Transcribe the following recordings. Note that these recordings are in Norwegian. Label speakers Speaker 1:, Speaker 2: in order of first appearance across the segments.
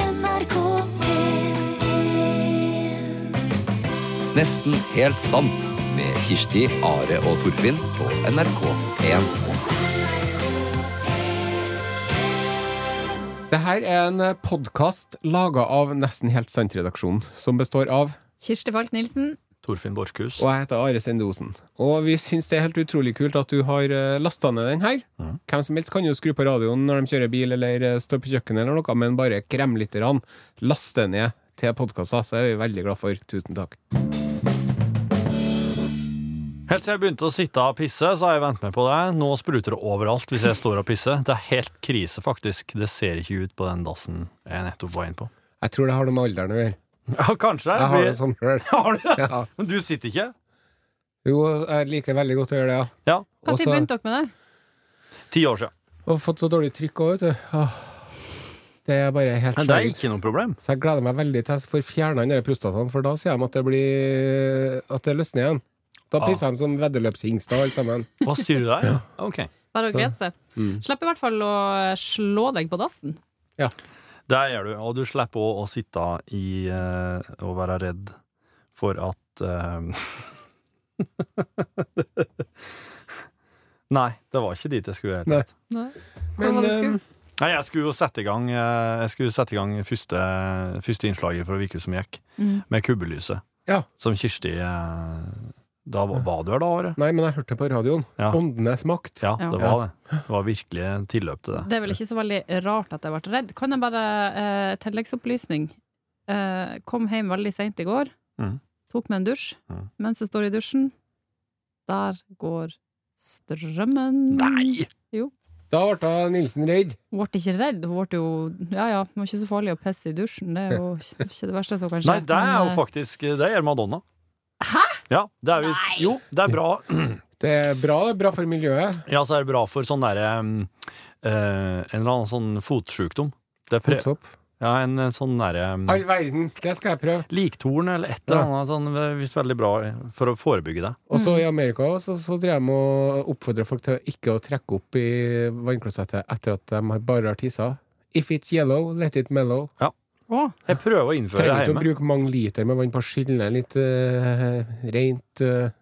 Speaker 1: NRK P1
Speaker 2: Nesten helt sant med Kirsti, Are og Torfinn på NRK P1.
Speaker 3: Det her er en podkast laga av Nesten helt sant-redaksjonen, som består av
Speaker 4: Kirsti Falk Nilsen.
Speaker 5: Torfinn Borchhus.
Speaker 3: Og jeg heter Are Sende Osen. Og vi syns det er helt utrolig kult at du har lasta ned den her. Hvem som helst kan jo skru på radioen når de kjører bil eller eh, står på kjøkkenet eller noe, men bare kremlytterne laster ned til podkaster, så er vi veldig glad for. Tusen takk.
Speaker 5: Helt siden jeg begynte å sitte og pisse, så har jeg vent med på det. Nå spruter det overalt hvis jeg står og pisser. Det er helt krise, faktisk. Det ser ikke ut på den dassen jeg nettopp var inne på.
Speaker 3: Jeg tror det har noe med alderen å gjøre.
Speaker 5: Ja, kanskje.
Speaker 3: Jeg har
Speaker 5: Vi-
Speaker 3: det sånn sjøl.
Speaker 5: Har du det?
Speaker 3: Ja.
Speaker 5: Men du sitter ikke?
Speaker 3: Jo, jeg liker veldig godt å gjøre det, ja.
Speaker 5: Ja.
Speaker 4: Når
Speaker 3: Også-
Speaker 4: begynte dere med det?
Speaker 5: Ti år siden.
Speaker 3: Og fått så dårlig trykk òg, vet du. Åh, Det er bare helt
Speaker 5: Men det er
Speaker 3: sjukt.
Speaker 5: ikke noe problem.
Speaker 3: Så jeg gleder meg veldig til jeg får fjerna den der prostataen, for da sier de at det blir At det løsner igjen. Da
Speaker 5: Ah.
Speaker 3: pisser de som veddeløpshingster, alle sammen.
Speaker 5: Hva sier du der? Ok.
Speaker 4: Bare å
Speaker 3: Så-
Speaker 4: glede seg.
Speaker 5: Mm.
Speaker 4: Slapp i hvert fall å slå deg på dassen.
Speaker 5: Det gjør du. Og du slipper også å sitte i eh, og være redd for at eh, Nei, det var ikke dit jeg skulle. i det hele tatt.
Speaker 3: Nei.
Speaker 4: Hva var det du
Speaker 3: eh,
Speaker 4: skulle?
Speaker 5: Nei, jeg skulle jo sette i gang eh, Jeg skulle sette i gang første, første innslaget for å virke som gikk
Speaker 4: Mm.
Speaker 5: Med kubbelyset
Speaker 3: Ja.
Speaker 5: Som Kirsti eh, Da var, var du her da, Are?
Speaker 3: Nei, men jeg hørte det på radioen.
Speaker 5: Ja.
Speaker 3: Åndenes makt.
Speaker 5: Ja,
Speaker 4: Ja.
Speaker 5: det var det Det var virkelig en tilløp til det
Speaker 4: Det er vel ikke så veldig rart at jeg ble redd. Kan jeg bare eh, tilleggsopplysning? Eh, kom hjem veldig seint i går.
Speaker 5: Mm.
Speaker 4: Tok meg en dusj.
Speaker 5: Mm.
Speaker 4: Mens jeg står i dusjen, der går strømmen.
Speaker 5: Nei!
Speaker 3: Da ble Nilsen redd.
Speaker 4: Hun ble ikke redd. Hun ble jo Ja ja, det var ikke så farlig å pisse i dusjen. Det er jo ikke det verste som kan skje.
Speaker 5: Nei, det er jo
Speaker 4: Men, eh,
Speaker 5: faktisk Det gjør Madonna Hæ? Ja, det er visst Jo, det er bra
Speaker 3: Det er bra, det er bra for miljøet.
Speaker 5: Ja, så er det bra for sånn der um, eh, En eller annen sånn fotsjukdom Det er pre
Speaker 3: Fotsopp.
Speaker 5: Ja, en eh, sånn der um,
Speaker 3: All verden, det skal jeg prøve.
Speaker 5: Liktorn eller et eller annet sånn, det er Visst veldig bra for å forebygge det
Speaker 3: Og så i Amerika også, så, så drev jeg med å oppfordre folk til ikke å trekke opp i vannklosettet etter at de har bare har tissa. If it's yellow, let it mellow.
Speaker 4: Å,
Speaker 5: Jeg prøver å innføre det
Speaker 3: Trenger ikke å
Speaker 5: hjemme.
Speaker 3: bruke mange liter med vann på å skylle litt eh, rent. eh,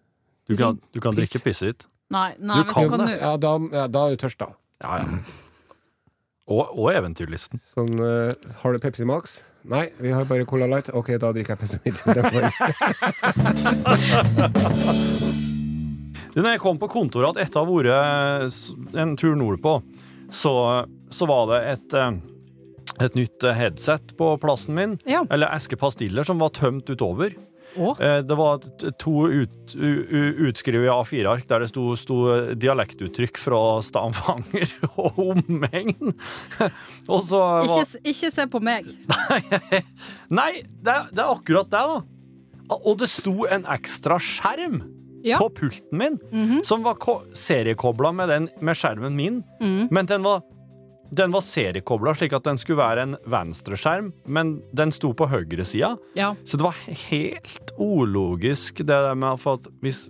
Speaker 5: Du kan, du kan
Speaker 3: Piss.
Speaker 5: drikke pisset ditt.
Speaker 4: Nei, nei,
Speaker 5: Du
Speaker 4: men
Speaker 5: kan
Speaker 4: så kan
Speaker 5: det.
Speaker 4: du
Speaker 3: Ja, da, ja, da er du tørst, da.
Speaker 5: Ja, ja. Og, og eventyrlisten.
Speaker 3: Sånn, eh, har du Pepsi Max? Nei, vi har bare Cola Light. Ok, da drikker jeg Pepsi Midt istedenfor.
Speaker 5: Du, når jeg kom på kontoret at etter å ha vært s- en tur nordpå, så, så var det et, eh, et nytt headset på plassen min.
Speaker 4: Ja.
Speaker 5: Eller eske pastiller som var tømt utover.
Speaker 4: Å?
Speaker 5: Eh, Det var t- to ut, u- u- utskrevet A4-ark der det sto, sto eh, dialektuttrykk fra Stavanger og omegn. Og så var,
Speaker 4: Ikke, ikke se på meg.
Speaker 5: Nei, det, er- det er akkurat det, da. Og det sto en ekstra skjerm
Speaker 4: Ja.
Speaker 5: på pulten min, som var ko- seriekobla med, den- med skjermen min. Men den var, den var seriekobla slik at den skulle være en venstreskjerm, men den sto på høyresida.
Speaker 4: Ja.
Speaker 5: Så det var helt ologisk, det der med for at hvis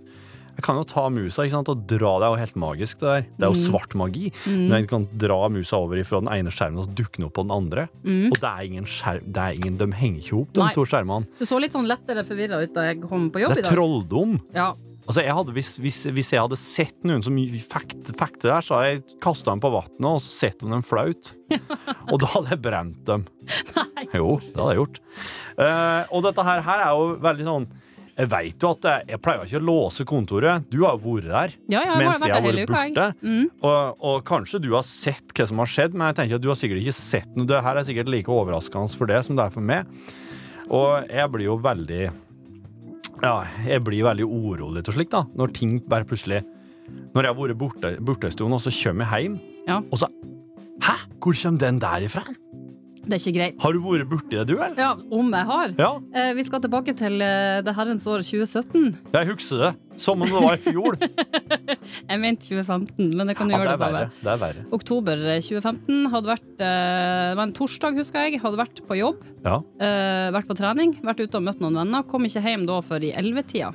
Speaker 5: jeg kan jo ta musa ikke sant, og dra. Det er jo helt magisk. Det der. Det er jo svart magi. Når jeg kan dra musa over fra den ene skjermen og så dukke den opp på den andre. Og det er ingen skjerm, det er ingen, de henger ikke opp, de
Speaker 4: Nei.
Speaker 5: to skjermene.
Speaker 4: Du så litt sånn lettere forvirra ut da jeg kom på jobb
Speaker 5: Det
Speaker 4: i
Speaker 5: er
Speaker 4: dag.
Speaker 5: trolldom.
Speaker 4: Ja.
Speaker 5: Altså, jeg hadde, hvis, hvis, hvis jeg hadde sett noen som fikk fikk det der, så hadde jeg kasta dem på vannet og så sett om dem flaut. Og da hadde jeg brent dem. Jo, det hadde jeg gjort. Eh, og dette her, her er jo veldig sånn Jeg veit jo at jeg, jeg pleier ikke å låse kontoret. Du har jo vært der.
Speaker 4: Ja, ja, jeg har
Speaker 5: mens
Speaker 4: vært
Speaker 5: jeg har
Speaker 4: der hele
Speaker 5: vært
Speaker 4: uka, jeg. Mm.
Speaker 5: borte. Og, og kanskje du har sett hva som har skjedd, men jeg tenker at du har sikkert ikke sett noe. Det her er sikkert like overraskende for det som det er for meg. Og jeg blir jo veldig Ja, jeg blir veldig urolig til slikt, da. Når ting bare plutselig Når jeg har vært borte, borte en stund, og så kommer jeg hjem,
Speaker 4: Ja.
Speaker 5: og så Hæ? Hvor kommer den der ifra?
Speaker 4: Det er ikke greit.
Speaker 5: Har du vært borti det, du, eller?
Speaker 4: Ja, om jeg har.
Speaker 5: Ja,
Speaker 4: Eh, vi skal tilbake til eh, det herrens år 2017.
Speaker 5: jeg husker det. Som om det var i fjor.
Speaker 4: Jeg mente 2015, men det kan jo
Speaker 5: Ja, det
Speaker 4: gjøre
Speaker 5: er
Speaker 4: det samme.
Speaker 5: verre. Det er verre.
Speaker 4: Oktober eh, 2015 hadde vært eh, Det var en torsdag, husker jeg. Hadde vært på jobb,
Speaker 5: Ja.
Speaker 4: eh, vært på trening, vært ute og møtt noen venner. Kom ikke hjem da før i 11-tida.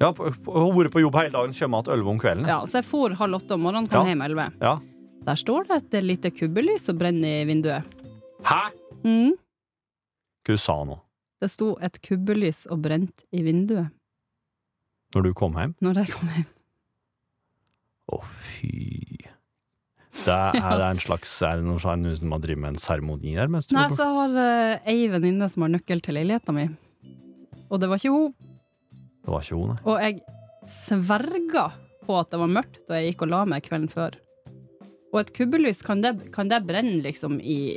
Speaker 5: ja på- på- hun har vært på jobb hele dagen, kommer igjen elleve om kvelden.
Speaker 4: Ja, så jeg for halv åtte om morgenen, kom
Speaker 5: Ja.
Speaker 4: hjem elleve.
Speaker 5: Ja.
Speaker 4: Der står det et lite kubbelys og brenner i vinduet.
Speaker 5: Hæ?
Speaker 4: Mm.
Speaker 5: Hva du sa nå,
Speaker 4: Det sto et kubbelys og brent i vinduet
Speaker 5: når du kom hjem?
Speaker 4: når jeg kom hjem.
Speaker 5: Å, fy. Det er, er det en slags Er det noe sånn som man driver med en seremoni der? Mens du
Speaker 4: Nei,
Speaker 5: var
Speaker 4: så har eh, ei venninne som har nøkkel til leiligheta mi, og det var ikke hun.
Speaker 5: borte? Det var ikke hun, nei.
Speaker 4: Og jeg sverga på at det var mørkt da jeg gikk og la meg kvelden før. Og et kubbelys, kan det, kan det brenne liksom i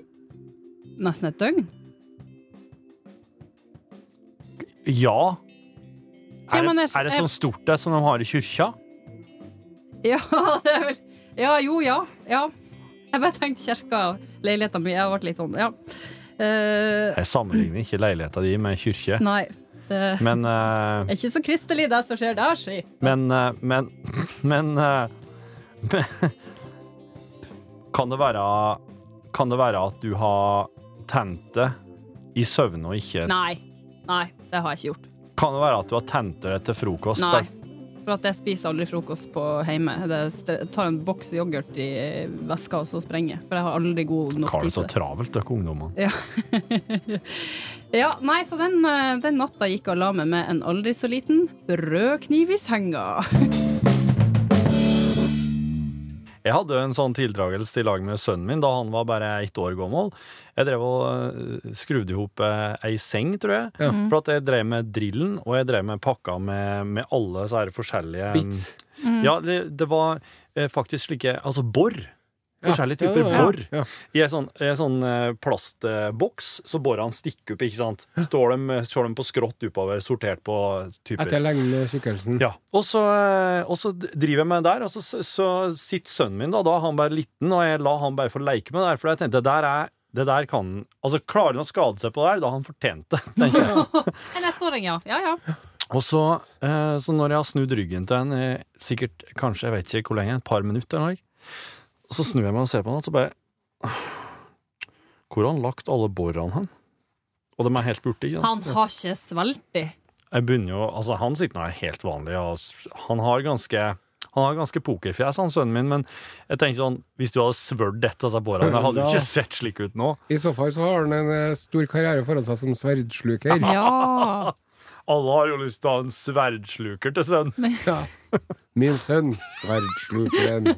Speaker 4: nesten et døgn?
Speaker 5: Ja.
Speaker 4: Ja,
Speaker 5: Er,
Speaker 4: men
Speaker 5: det,
Speaker 4: jeg-
Speaker 5: er det sånn stort det som de har i kyrkja?
Speaker 4: Ja, det er vel Ja, jo, ja. ja. Jeg bare tenkte kirka og leiligheta mi. Jeg ble litt sånn, ja. Eh,
Speaker 5: Jeg sammenligner ikke leiligheta di med kyrkje,
Speaker 4: nei. Det er
Speaker 5: men eh,
Speaker 4: ikke så kristelig, det som skjer der, si.
Speaker 5: Men eh, Men Men, eh, men Kan det være Kan det være at du har tent det i søvne og ikke
Speaker 4: Nei. Nei, det har jeg ikke gjort.
Speaker 5: Kan det være at du har tent det til frokost?
Speaker 4: Nei. For at jeg spiser aldri frokost på hjemme. Det st- tar en boks yoghurt i veska, og så sprenger jeg. For jeg har aldri god nok
Speaker 5: Har du
Speaker 4: tid
Speaker 5: så
Speaker 4: til det.
Speaker 5: travelt, dere ungdommene?
Speaker 4: Ja, nei, så den, eh, den natta gikk jeg og la meg med en aldri så liten rød kniv i senga.
Speaker 5: Jeg hadde en sånn tildragelse i lag med sønnen min da han var bare ett år gammel. Jeg drev og øh, skrudde i hop eh, ei seng, tror jeg.
Speaker 3: Ja.
Speaker 5: For at jeg drev med drillen, og jeg drev med pakka med, med alle så her forskjellige mm,
Speaker 3: Bits. Mm.
Speaker 5: Ja, det, det var eh, faktisk slike Altså borr.
Speaker 3: Ja,
Speaker 5: Forskjellige
Speaker 3: ja,
Speaker 5: typer
Speaker 3: ja, ja.
Speaker 5: borr.
Speaker 3: Ja.
Speaker 5: I en sånn, en sånn eh, plastboks, så borrene stikker opp, ikke sant. Står de, står de på skrått oppover, sortert på typer.
Speaker 3: Etter lengden og tykkelsen.
Speaker 5: Ja, Mm. og så, eh, og så driver jeg med det der, og så, så, så sitter sønnen min da, da er han bare liten, og jeg la han bare få leke med det der, for jeg tenkte, det der er, det der kan, altså klarer han å skade seg på det der, da har han fortjent det, tenker jeg.
Speaker 4: En ettåring, ja. Ja, ja.
Speaker 5: Og så, eh, så når jeg har snudd ryggen til en, eh, sikkert, kanskje, jeg vet ikke hvor lenge, et par minutter eller noe, og så snur jeg meg og ser på han, og så bare, hvor har han lagt alle borrene han? Og de er helt borte, ikke sant?
Speaker 4: Han har ikke svelget.
Speaker 5: Jeg begynner jo, altså Han sitter nå her helt vanlig. Og s- han har ganske han har ganske pokerfjes, han sønnen min, men jeg tenker sånn, hvis du hadde svørt dette av seg på håret, hadde du ikke sett slik ut nå.
Speaker 3: I så fall så har han en eh, stor karriere foran seg som sverdsluker.
Speaker 4: Ja.
Speaker 5: Alle har jo lyst til å ha en sverdsluker til sønn.
Speaker 3: Ja. Min sønn, sverdslukeren.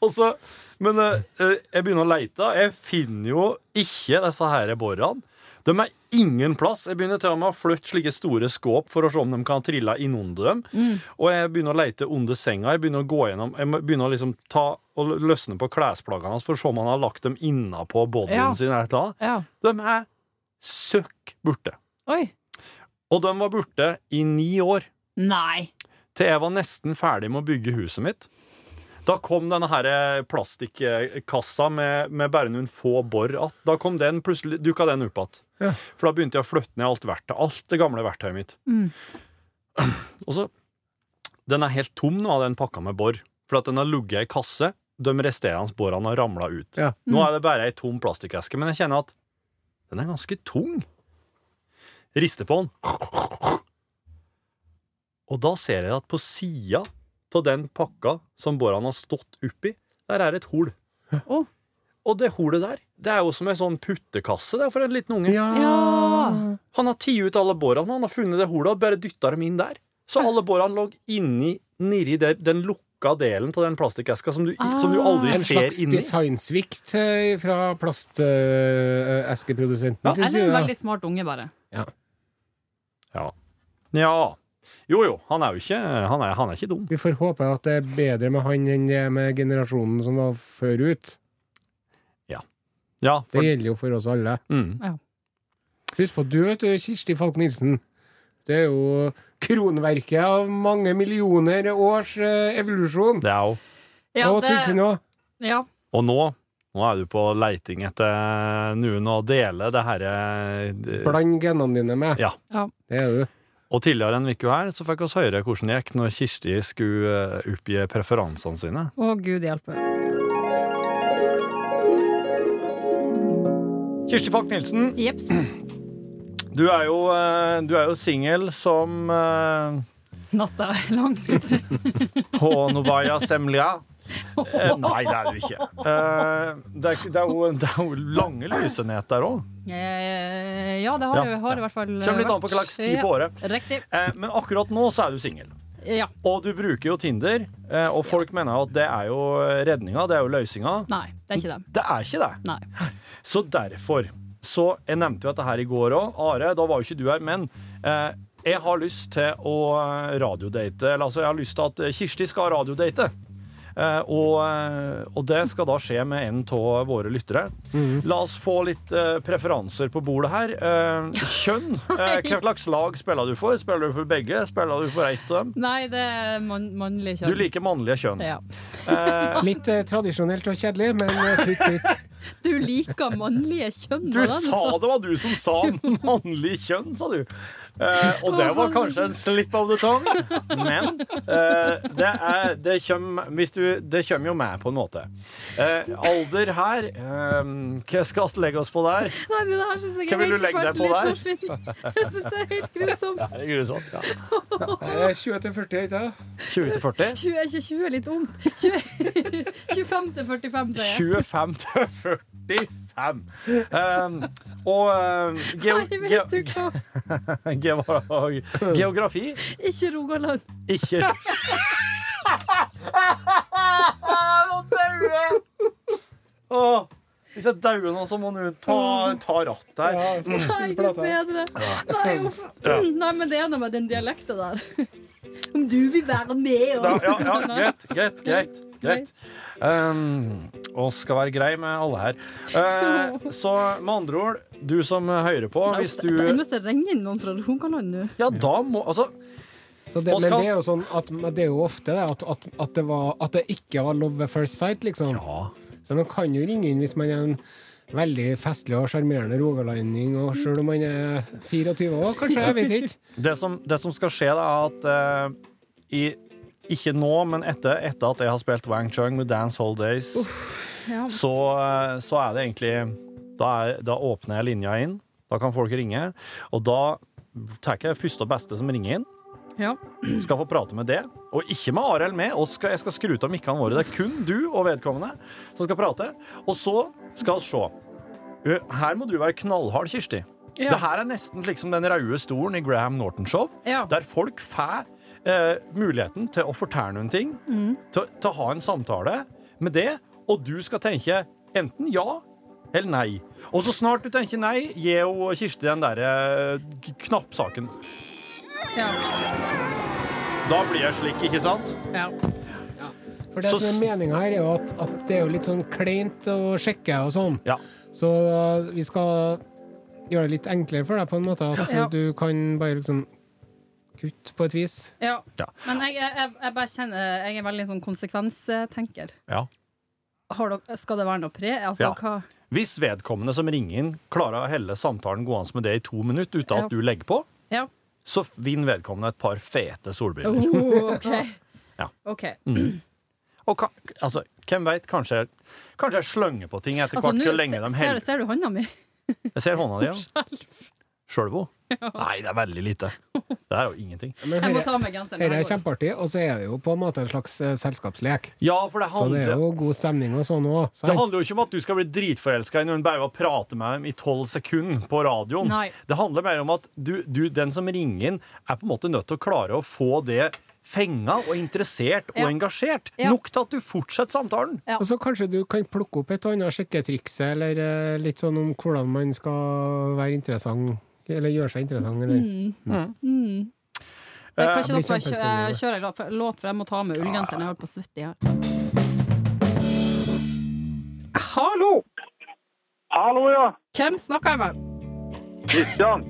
Speaker 5: Og så- Men eh, eh, jeg begynner å leite. Jeg finner jo ikke disse her borene. De er ingen plass. Jeg begynner til og med å flytte slike store skåp for å se om de kan trille innunder dem. Og jeg begynner å leite under senga. Jeg begynner å gå gjennom Jeg må- begynner å liksom ta og lø- løsne på klesplaggene hans for å se om han har lagt dem innapå bodyen
Speaker 4: Ja.
Speaker 5: sin. eller et eller annet.
Speaker 4: ja.
Speaker 5: De er søkk borte.
Speaker 4: Oi.
Speaker 5: Og de var borte i ni år
Speaker 4: Nei.
Speaker 5: til jeg var nesten ferdig med å bygge huset mitt. Da kom denne her eh, plastikkassa med, med bare noen få borr att. Da kom den, plutselig dukka den opp igjen.
Speaker 3: Ja.
Speaker 5: For da begynte jeg å flytte ned alt verktøy, alt det gamle verktøyet mitt.
Speaker 4: Mm.
Speaker 5: Og så, Den er helt tom nå, den pakka med borr. For at den har ligget i kasse. De resterende borrene har ramla ut.
Speaker 3: Ja.
Speaker 4: Mm.
Speaker 5: Nå er det bare ei tom plastikkeske, men jeg kjenner at den er ganske tung. Rister på den. Og da ser jeg at på sida av den pakka som borrene har stått oppi, der er et hol.
Speaker 4: Å.
Speaker 5: Og det holet der, det er jo som ei sånn puttekasse det er for en liten unge.
Speaker 4: Ja.
Speaker 5: Han har tatt ut alle bårene, han har funnet det holet og bare dytta dem inn der. Så alle bårene lå inni nedi der, den lukka delen av den plastikkeska som, du-
Speaker 4: Ah.
Speaker 5: som du aldri
Speaker 3: En
Speaker 5: ser
Speaker 3: slags
Speaker 5: inni.
Speaker 3: designsvikt eh, fra plasteskeprodusenten
Speaker 5: Ja.
Speaker 3: sin
Speaker 4: Eller en
Speaker 3: side.
Speaker 4: veldig smart unge, bare.
Speaker 5: Ja. ja. Jo, jo, han er jo ikke Han er, han er ikke dum.
Speaker 3: Vi får håpe at det er bedre med han enn det er med generasjonen som var før ut.
Speaker 5: Ja,
Speaker 3: Det
Speaker 5: for,
Speaker 3: gjelder jo for oss alle.
Speaker 5: mm.
Speaker 3: Husk på, du vet du, Kirsti Falk Nilsen. Det er jo kronverket av mange millioner års eh, evolusjon.
Speaker 5: Det er jo
Speaker 3: og Torfinn òg.
Speaker 4: ja.
Speaker 5: Og nå, nå er du på leiting etter noen å dele det herre
Speaker 3: Bland genene dine med.
Speaker 5: Ja.
Speaker 4: Ja.
Speaker 3: Det er du.
Speaker 5: Og tidligere en uke her så fikk oss høre hvordan det gikk når Kirsti skulle eh, oppgi preferansene sine.
Speaker 4: Å, gud hjelpe.
Speaker 5: Kirsti Falk Nilsen,
Speaker 4: Jeps.
Speaker 5: du er jo, eh, du er jo singel som eh,
Speaker 4: Natta er lang, skulle jeg si.
Speaker 5: på Novaya Semlya. Eh, Nei, det er det jo ikke. Eh, Det er, det er, jo, det er jo lange lysenhet der òg.
Speaker 4: Eh, ja, det har,
Speaker 5: Ja,
Speaker 4: jo- har det i hvert fall eh,
Speaker 5: Kommer litt an på hva slags tid på året.
Speaker 4: Ja, riktig.
Speaker 5: Eh, Men akkurat nå så er du singel.
Speaker 4: Ja.
Speaker 5: Og du bruker jo Tinder, eh, og folk mener jo at det er jo redninga, det er jo løsninga.
Speaker 4: Nei, det er ikke det.
Speaker 5: Det er ikke det.
Speaker 4: Nei.
Speaker 5: Så derfor Så jeg nevnte jo dette her i går òg. Are, da var jo ikke du her, men eh, jeg har lyst til å eh, radiodate. Eller altså, jeg har lyst til at Kirsti skal radiodate. Eh, og, eh, og det skal da skje med en av våre lyttere. La oss få litt eh, preferanser på bordet her. Eh, kjønn. Eh, hva slags lag spiller du for? Spiller du for begge? Spiller du for ett av dem?
Speaker 4: Nei, det er mann- mannlig kjønn.
Speaker 5: Du liker mannlige kjønn.
Speaker 4: ja.
Speaker 5: Eh,
Speaker 3: Litt eh, tradisjonelt og kjedelig, men eh, putt, putt.
Speaker 4: Du liker mannlige kjønn.
Speaker 5: Du
Speaker 4: var det
Speaker 5: sa det var du som sa mannlig kjønn, sa du. Eh, og det var kanskje en slip of the tongue, men eh, det, er, det, kommer, hvis du, det kommer jo med på en måte. Eh, alder her eh, Hva skal vi legge oss på der?
Speaker 4: Nei, du, det her synes jeg
Speaker 5: Hvem
Speaker 4: er
Speaker 5: vil
Speaker 4: helt
Speaker 5: du legge deg på
Speaker 4: forferdelig, Torfinn. Jeg synes det er helt grusomt.
Speaker 5: Det er grusomt, ja.
Speaker 3: Eh, 20 til 40, ikke sant?
Speaker 5: 20 til 40?
Speaker 4: 20 er ikke 20, er litt ondt. 20 25 til 45, sier jeg.
Speaker 5: 25 til 45. Eh, og eh, geo,
Speaker 4: Nei, vet du
Speaker 5: ge,
Speaker 4: hva?
Speaker 5: ge, geografi
Speaker 4: Ikke Rogaland.
Speaker 5: Ikke Nå dauer jeg! Åh, Hvis jeg dauer nå, så må du ta, ta rattet her.
Speaker 3: Ja, så-
Speaker 4: Nei, gud bedre. Nei, uff. Nei, men det er noe med den dialekten der. Om du vil være med
Speaker 5: Da,
Speaker 4: og
Speaker 5: ja, ja, greit, greit, greit. greit. Um, og skal være grei med alle her. Eh, så med andre ord, du som hører på, hvis du
Speaker 4: Jeg måtte ringe inn noen fra Rogaland nå.
Speaker 5: Ja, da må Altså,
Speaker 3: Så det,
Speaker 5: Og
Speaker 3: men
Speaker 5: skal-
Speaker 3: det er jo sånn at men det er jo ofte det, at, at, at, det var, at det ikke var love ved first sight, liksom. Så man kan jo ringe inn hvis man er en veldig festlig og sjarmerende rogalending, og sjøl om man er 24 år, kanskje. Jeg vet ikke.
Speaker 5: det som, det som skal skje, da, er at eh, i ikke nå, men etter, etter at jeg har spilt Wang Chung med Dance Hall Days,
Speaker 4: ja.
Speaker 5: så, eh, så er det egentlig da, er, da åpner jeg linja inn. Da kan folk ringe. Og da tar jeg første og beste som ringer inn.
Speaker 4: Ja.
Speaker 5: Skal få prate med det. Og ikke med Arild med. Og skal, jeg skal skru ut av mikkene våre. Det er kun du og vedkommende som skal prate. Og så skal vi se. Ø, Her må du være knallhard, Kirsti.
Speaker 4: Ja.
Speaker 5: Det her er nesten liksom den røde stolen i Graham Norton-show,
Speaker 4: Ja.
Speaker 5: der folk får eh, muligheten til å fortelle noen ting,
Speaker 4: Mm.
Speaker 5: til, til å ha en samtale med det, og du skal tenke enten ja eller nei. Og så snart du tenker nei, gi jo Kirsti den derre eh, knappsaken.
Speaker 4: Ja.
Speaker 5: Da blir jeg slik, ikke sant?
Speaker 4: Ja.
Speaker 3: For det
Speaker 5: Så
Speaker 3: som er meninga her, er jo at, at det er jo litt sånn kleint å sjekke og sånn.
Speaker 5: Ja.
Speaker 3: Så uh, vi skal gjøre det litt enklere for deg, på en måte. At
Speaker 4: Ja.
Speaker 3: du kan bare liksom kutte på et vis.
Speaker 4: ja.
Speaker 5: Ja.
Speaker 4: Men jeg, jeg, jeg- jeg bare kjenner Jeg er veldig sånn konsekvenstenker.
Speaker 5: ja.
Speaker 4: Har dere, skal det være noe pre? Altså,
Speaker 5: Ja.
Speaker 4: hva
Speaker 5: Hvis vedkommende som ringer inn, klarer å helle samtalen gående med det i to minutter uten
Speaker 4: Ja.
Speaker 5: at du legger på,
Speaker 4: Ja.
Speaker 5: så vinner vedkommende et par fete solbriller.
Speaker 4: Oh, OK.
Speaker 5: Ja.
Speaker 4: Ok.
Speaker 5: Og ka, altså, hvem veit? Kanskje, jeg- kanskje jeg slenger på ting etter
Speaker 4: Altså,
Speaker 5: hvert
Speaker 4: nå
Speaker 5: hvor lenge
Speaker 4: se-
Speaker 5: de
Speaker 4: ser,
Speaker 5: holder
Speaker 4: ser du hånda mi?
Speaker 5: Jeg ser hånda di, ja. Skjølvo? Nei, det er veldig lite. Det er jo ingenting.
Speaker 3: Men
Speaker 4: Jeg må
Speaker 3: dette
Speaker 4: ta av meg genseren.
Speaker 3: dette er
Speaker 4: jeg går.
Speaker 3: kjempeartig, og så er det jo på en måte en slags eh, selskapslek.
Speaker 5: Ja, for det
Speaker 3: Så det
Speaker 5: handler,
Speaker 3: Sånn er jo god stemning og sånn òg.
Speaker 5: det handler jo ikke om at du skal bli dritforelska i noen bare ved å prate med dem i tolv sekunder på radioen.
Speaker 4: Nei.
Speaker 5: Det handler mer om at du, du, den som ringer inn, er på en måte nødt til å klare å få det fenga og interessert og
Speaker 4: Ja.
Speaker 5: engasjert.
Speaker 4: Ja.
Speaker 5: Nok til at du fortsetter samtalen.
Speaker 4: Ja.
Speaker 3: Og så kanskje du kan plukke opp et og annet sjekketriks, eller eh, litt sånn om hvordan man skal være interessant, eller gjøre seg interessant, eller
Speaker 4: Mm. Jeg kan ikke
Speaker 3: blir
Speaker 4: nok bare kjø
Speaker 3: kjempespennende.
Speaker 4: kjøre en låt, for- låt, for jeg må ta av meg ullgenseren. Jeg holder på å svette i hjel. Hallo!
Speaker 1: Hallo, ja.
Speaker 4: Hvem snakker jeg med?
Speaker 1: Kristian.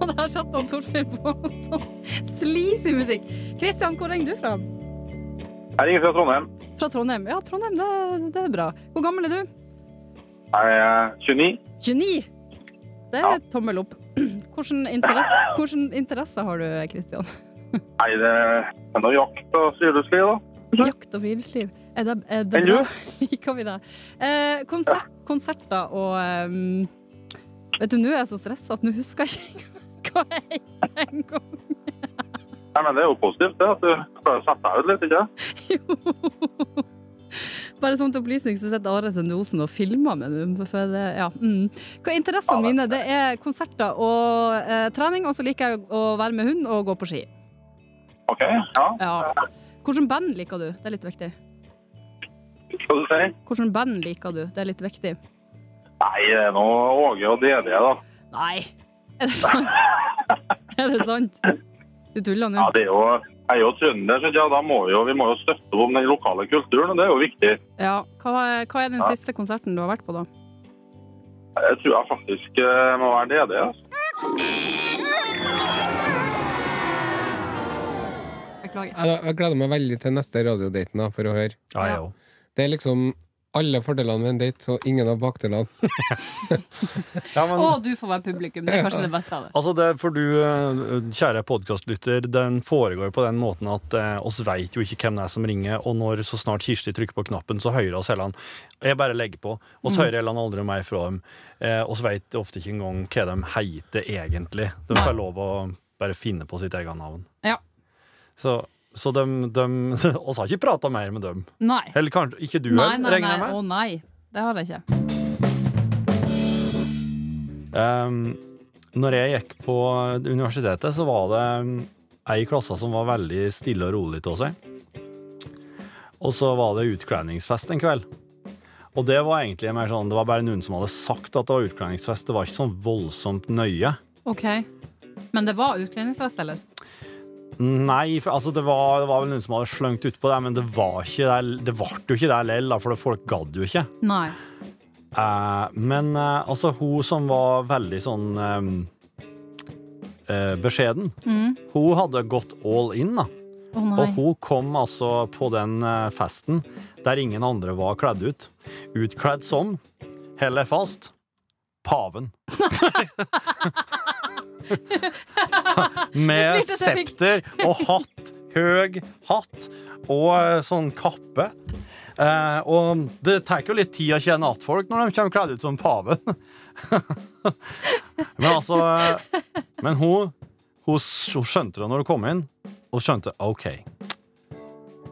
Speaker 4: Og der satt han Torfinn på med sånn sleazy musikk. Kristian, hvor ringer du fra?
Speaker 1: Jeg ringer fra Trondheim.
Speaker 4: Fra Trondheim. Ja, Trondheim, det, det er bra. Hvor gammel er du?
Speaker 1: Jeg er 29.
Speaker 4: 29. Det er tommel opp. Hvilken interesse, hvilken interesse har du, Kristian?
Speaker 1: Nei, det er noe jakt og friluftsliv, da.
Speaker 4: Jakt og friluftsliv. Er det, er det
Speaker 1: Enn
Speaker 4: bra? Liker vi det? Eh, konsert, konserter og ehm, Vet du, nå er jeg så stressa at nå husker jeg ikke hva jeg heter engang.
Speaker 1: Nei, men det er jo positivt, det. At du klarer å sette deg ut litt, ikke
Speaker 4: Jo. Bare som til opplysning så sitter Are Sende Osen og filmer med nå. For det, ja. mm. Hva er interessene mine? Det er konserter og eh, trening, og så liker jeg å være med hund og gå på ski.
Speaker 1: OK. Ja,
Speaker 4: Ja. Hvilket band liker du? Det er litt viktig.
Speaker 1: skal du si.
Speaker 4: Hvilket band liker du? Det er litt viktig.
Speaker 1: Nei, det er nå Åge og DD, da.
Speaker 4: Nei! Er det sant? er det sant? Du tuller
Speaker 1: Ja,
Speaker 4: nå?
Speaker 1: det er jo, Jeg er jo trønder, så ja, da må vi, jo, vi må jo støtte opp om den lokale kulturen, og det er jo viktig.
Speaker 4: Ja. Hva er, hva er den
Speaker 1: Ja.
Speaker 4: siste konserten du har vært på, da?
Speaker 1: Jeg tror jeg faktisk eh, må være DD. Altså.
Speaker 4: Beklager.
Speaker 3: Jeg, jeg gleder meg veldig til neste radiodaten da, for å høre.
Speaker 5: Ja, jeg òg.
Speaker 3: Det er liksom alle fordelene ved en date og ingen av bakdelene.
Speaker 5: Ja, men-
Speaker 4: Å, du får være publikum. Det er kanskje det beste av det.
Speaker 5: Altså det, for du, eh, kjære podkastlytter, den foregår på den måten at eh, oss veit jo ikke hvem det er som ringer, og når så snart Kirsti trykker på knappen, så hører oss Helland. Jeg bare legger på. Oss
Speaker 4: Mm.
Speaker 5: hører Helland aldri meg fra dem. Eh, oss veit ofte ikke engang hva de heter egentlig. De får lov å bare finne på sitt eget navn.
Speaker 4: Ja.
Speaker 5: Så, så de, de oss har ikke prata mer med dem.
Speaker 4: Nei.
Speaker 5: Eller kanskje ikke du,
Speaker 4: Nei,
Speaker 5: heller,
Speaker 4: nei,
Speaker 5: regner
Speaker 4: nei.
Speaker 5: jeg med?
Speaker 4: Å nei. Det har jeg ikke.
Speaker 5: Um, når jeg gikk på universitetet, så var det um, ei i klassen som var veldig stille og rolig til seg. Og så var det utkledningsfest en kveld. Og det var egentlig mer sånn, det var bare noen som hadde sagt at det var utkledningsfest. Det var ikke sånn voldsomt nøye.
Speaker 4: OK. Men det var utkledningsfest, eller?
Speaker 5: Nei, for, altså det var, det var vel noen som hadde sløngt utpå det, men det var ikke der, det ble jo ikke der lell, da, for folk gadd jo ikke.
Speaker 4: Nei.
Speaker 5: Eh, men eh, altså, hun som var veldig sånn eh, eh, beskjeden,
Speaker 4: Mm.
Speaker 5: hun hadde gått all in, da.
Speaker 4: Å nei.
Speaker 5: Og hun kom altså på den eh, festen der ingen andre var kledd ut. Utkledd som, held deg fast, paven. Med
Speaker 4: Jeg flirte til jeg fikk-
Speaker 5: septer og hatt, høg hatt og eh, sånn kappe. Eh, og det tar jo litt tid å kjenne att folk når de kommer kledd ut som paven. men altså eh, Men hun, hun, s- hun skjønte det når hun kom inn, og skjønte OK.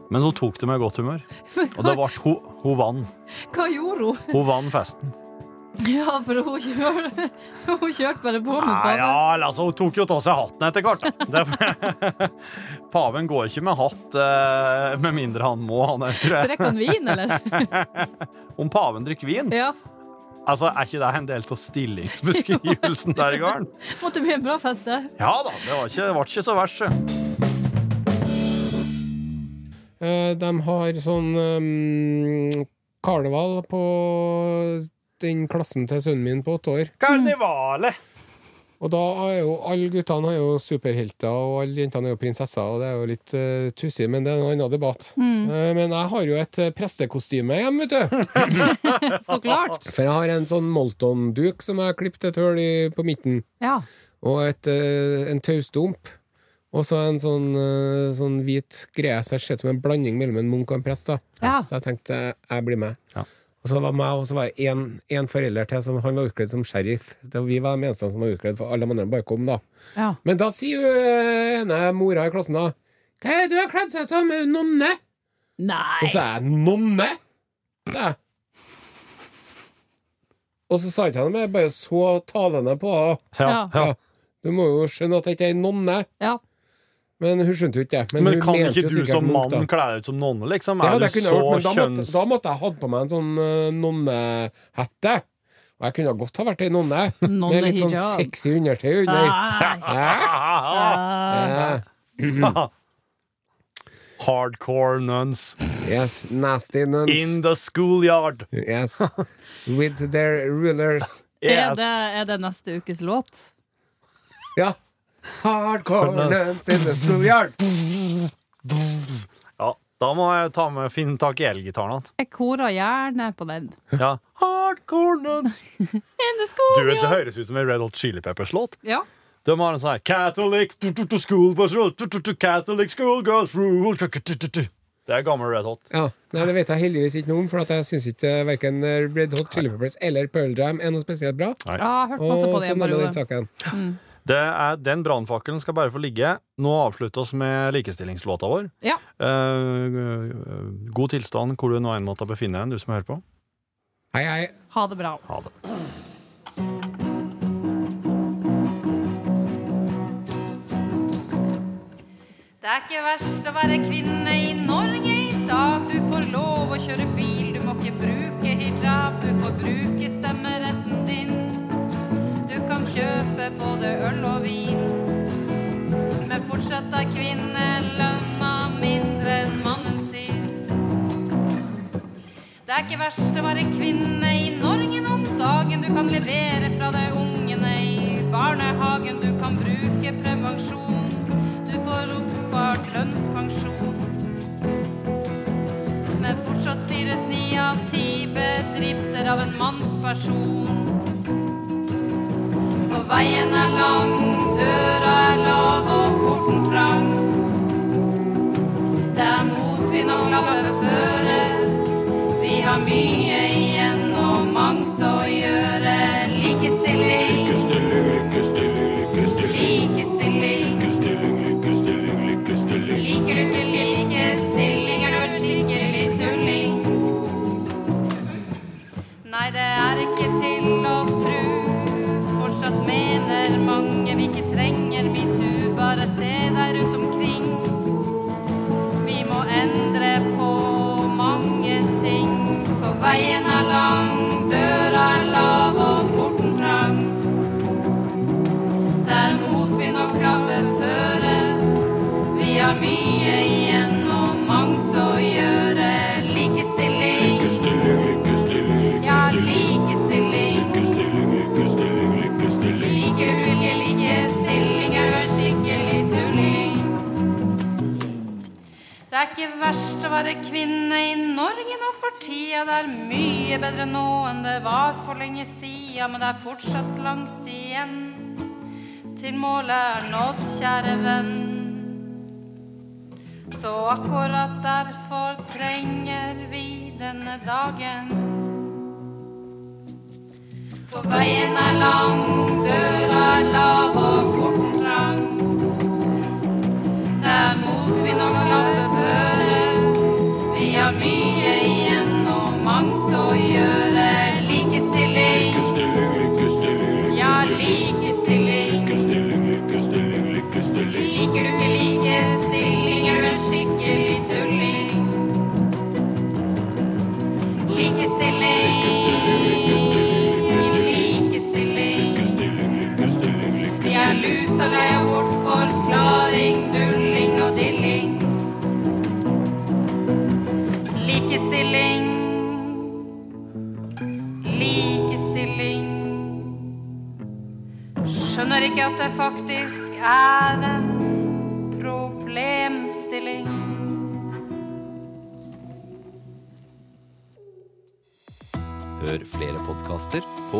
Speaker 5: Men hun tok det med godt humør. Og det ble, hun, hun vant.
Speaker 4: Hva gjorde hun?
Speaker 5: Hun vant festen.
Speaker 4: Ja, for hun kjørte, hun kjørte bare på mot
Speaker 5: Nei,
Speaker 4: paven.
Speaker 5: ja, altså, hun tok jo av seg hatten etter hvert. da. Det, paven går ikke med hatt eh, med mindre han må, han er, tror jeg.
Speaker 4: Drikker han vin, eller?
Speaker 5: Om paven drikker vin?
Speaker 4: Ja.
Speaker 5: Altså, Er ikke det en del av stillingsbeskrivelsen der i gården?
Speaker 4: Måtte bli en bra fest, det.
Speaker 5: Ja da, det, var ikke, det ble ikke så verst. sjø.
Speaker 3: Eh, De har sånn um, karneval på den klassen til sønnen min på åtte år.
Speaker 5: Karnevalet!
Speaker 3: Og da er jo alle guttene er jo superhelter, og alle jentene er jo prinsesser, og det er jo litt eh, tussig, men det er en annen debatt. Eh, men jeg har jo et eh, prestekostyme hjemme, vet du.
Speaker 4: Så klart.
Speaker 3: For jeg har en sånn Molton-duk som jeg har klippet et hull i på midten,
Speaker 4: Ja.
Speaker 3: og et, eh, en taustump. Og så en sånn, eh, sånn hvit greie som ser ut som en blanding mellom en munk og en prest. da.
Speaker 4: Ja.
Speaker 3: Så jeg tenkte jeg blir med.
Speaker 5: Ja.
Speaker 3: Og så var meg, og så var det én forelder til som han var utkledd som sheriff. Det var, vi var de eneste som var utkledd, for alle de andre bare kom, da.
Speaker 4: Ja.
Speaker 3: Men da sier jo eh, ene mora i klassen da Hva er det du har kledd seg som? Nonne? Så
Speaker 4: Nei.
Speaker 3: sa jeg nonne? sa jeg. Og så sa ikke han det, men jeg bare så talende på henne.
Speaker 5: Ja, ja.
Speaker 3: Ja. Du må jo skjønne at jeg ikke er ei nonne.
Speaker 4: Ja.
Speaker 3: Men hun skjønte jo ikke det.
Speaker 5: Men
Speaker 3: hun
Speaker 5: kan
Speaker 3: mente
Speaker 5: ikke
Speaker 3: jo
Speaker 5: du
Speaker 3: sikkert
Speaker 5: som
Speaker 3: munk,
Speaker 5: mann
Speaker 3: da.
Speaker 5: kle deg ut som nonne, liksom?
Speaker 3: Det
Speaker 5: Er
Speaker 3: hadde
Speaker 5: du
Speaker 3: jeg kunnet ha
Speaker 5: så
Speaker 3: gjort, men da måtte,
Speaker 5: kjønns...
Speaker 3: da måtte jeg hatt på meg en sånn eh, nonnehette. Og jeg kunne godt ha vært ei nonne, med litt sånn
Speaker 4: Nonnehijab.
Speaker 3: sexy undertøy under. Eh,
Speaker 4: Nei.
Speaker 3: Ja. Ja.
Speaker 5: Hardcore nuns
Speaker 3: Yes, nasty nuns.
Speaker 5: in the schoolyard.
Speaker 3: Yes. With their rulers.
Speaker 4: Er
Speaker 5: Yes.
Speaker 4: det, er det neste ukes låt?
Speaker 3: Ja. Hardcore nuns in the schoolyard.
Speaker 5: Ja, da må jeg ta med finne tak i elgitaren igjen.
Speaker 4: Jeg korer gjerne på den.
Speaker 5: Ja. Hardcore nuns.
Speaker 4: In the
Speaker 5: Du,
Speaker 4: school,
Speaker 5: det høres ut som en Red Hot Chili Peppers-låt.
Speaker 4: Ja.
Speaker 5: De har en sånn her Catholic du, du, du, school bus rule du, du, du, Catholic school girls rule du, du, du, du. Det er gammel Red Hot.
Speaker 3: Ja. Nei, det vet jeg heldigvis ikke noe om, for at jeg syns ikke verken Red Hot Chili Peppers eller Pearl Jam er noe spesielt bra.
Speaker 4: Ja, jeg har hørt masse
Speaker 3: Og
Speaker 4: på det i
Speaker 3: sånn er det
Speaker 4: en
Speaker 3: med den
Speaker 4: periode.
Speaker 3: saken.
Speaker 5: Det er, den brannfakkelen skal bare få ligge. Nå avslutter oss med likestillingslåta vår.
Speaker 6: Ja.
Speaker 5: Eh, god tilstand hvor du nå enn måtte befinne deg, du som hører på.
Speaker 3: Hei, hei.
Speaker 6: Ha det bra.
Speaker 5: Ha det.
Speaker 4: Det er ikke verst å være kvinne i Norge i dag. Du får lov å kjøre bil, du må ikke bruke hijab. Du får bruke stemmeretten din. Du kan kjøpe både øl og vin. Men fortsatt er kvinnelønna mindre enn mannen sin. Det er ikke verst å være kvinne i Norge om dagen. Du kan levere fra deg ungene i barnehagen. Du kan bruke prevensjon. Du får oppspart lønnspensjon. Men fortsatt styres ni av ti bedrifter av en mannsperson. For veien er lang, døra er lav og porten trang. Det er motvind og glade føre. Vi har mye igjen og mangt å gjøre. Likestilling. Likestilling. Liker du ikke likestilling, er du en skikkelig tulling. Nei, det er ikke til å tru. Fortsatt mener mange vi ikke trenger metoo. Bare se deg rundt omkring. Vi må endre på mange ting. For veien er lang, døra er lav og porten trang. Der motvind og krabbe fører. Vi har mye igjen og mangt å gjøre. Likestilling. Ja, likestilling. Liker du ikke likestilling, er du en skikkelig tulling. Det er ikke verst å være kvinne i Norge nå for tida. Det er mye bedre nå enn det var for lenge sida, men det er fortsatt langt igjen. Til målet er nådd, kjære venn. Så akkurat derfor trenger vi denne dagen. For veien er lang, døra er lav og porten trang. Det er motvind og glade føre. Vi har mye igjen og mangt å gjøre. Likestilling, ja, likestilling. Liker du ikke likestilling, er du en skikkelig tulling. Likestilling, likestilling. Jeg luter deg bort for klaring, dulling og dilling. Likestilling. Likestilling. Skjønner ikke at det faktisk er en problemstilling.
Speaker 2: Hør flere podkaster på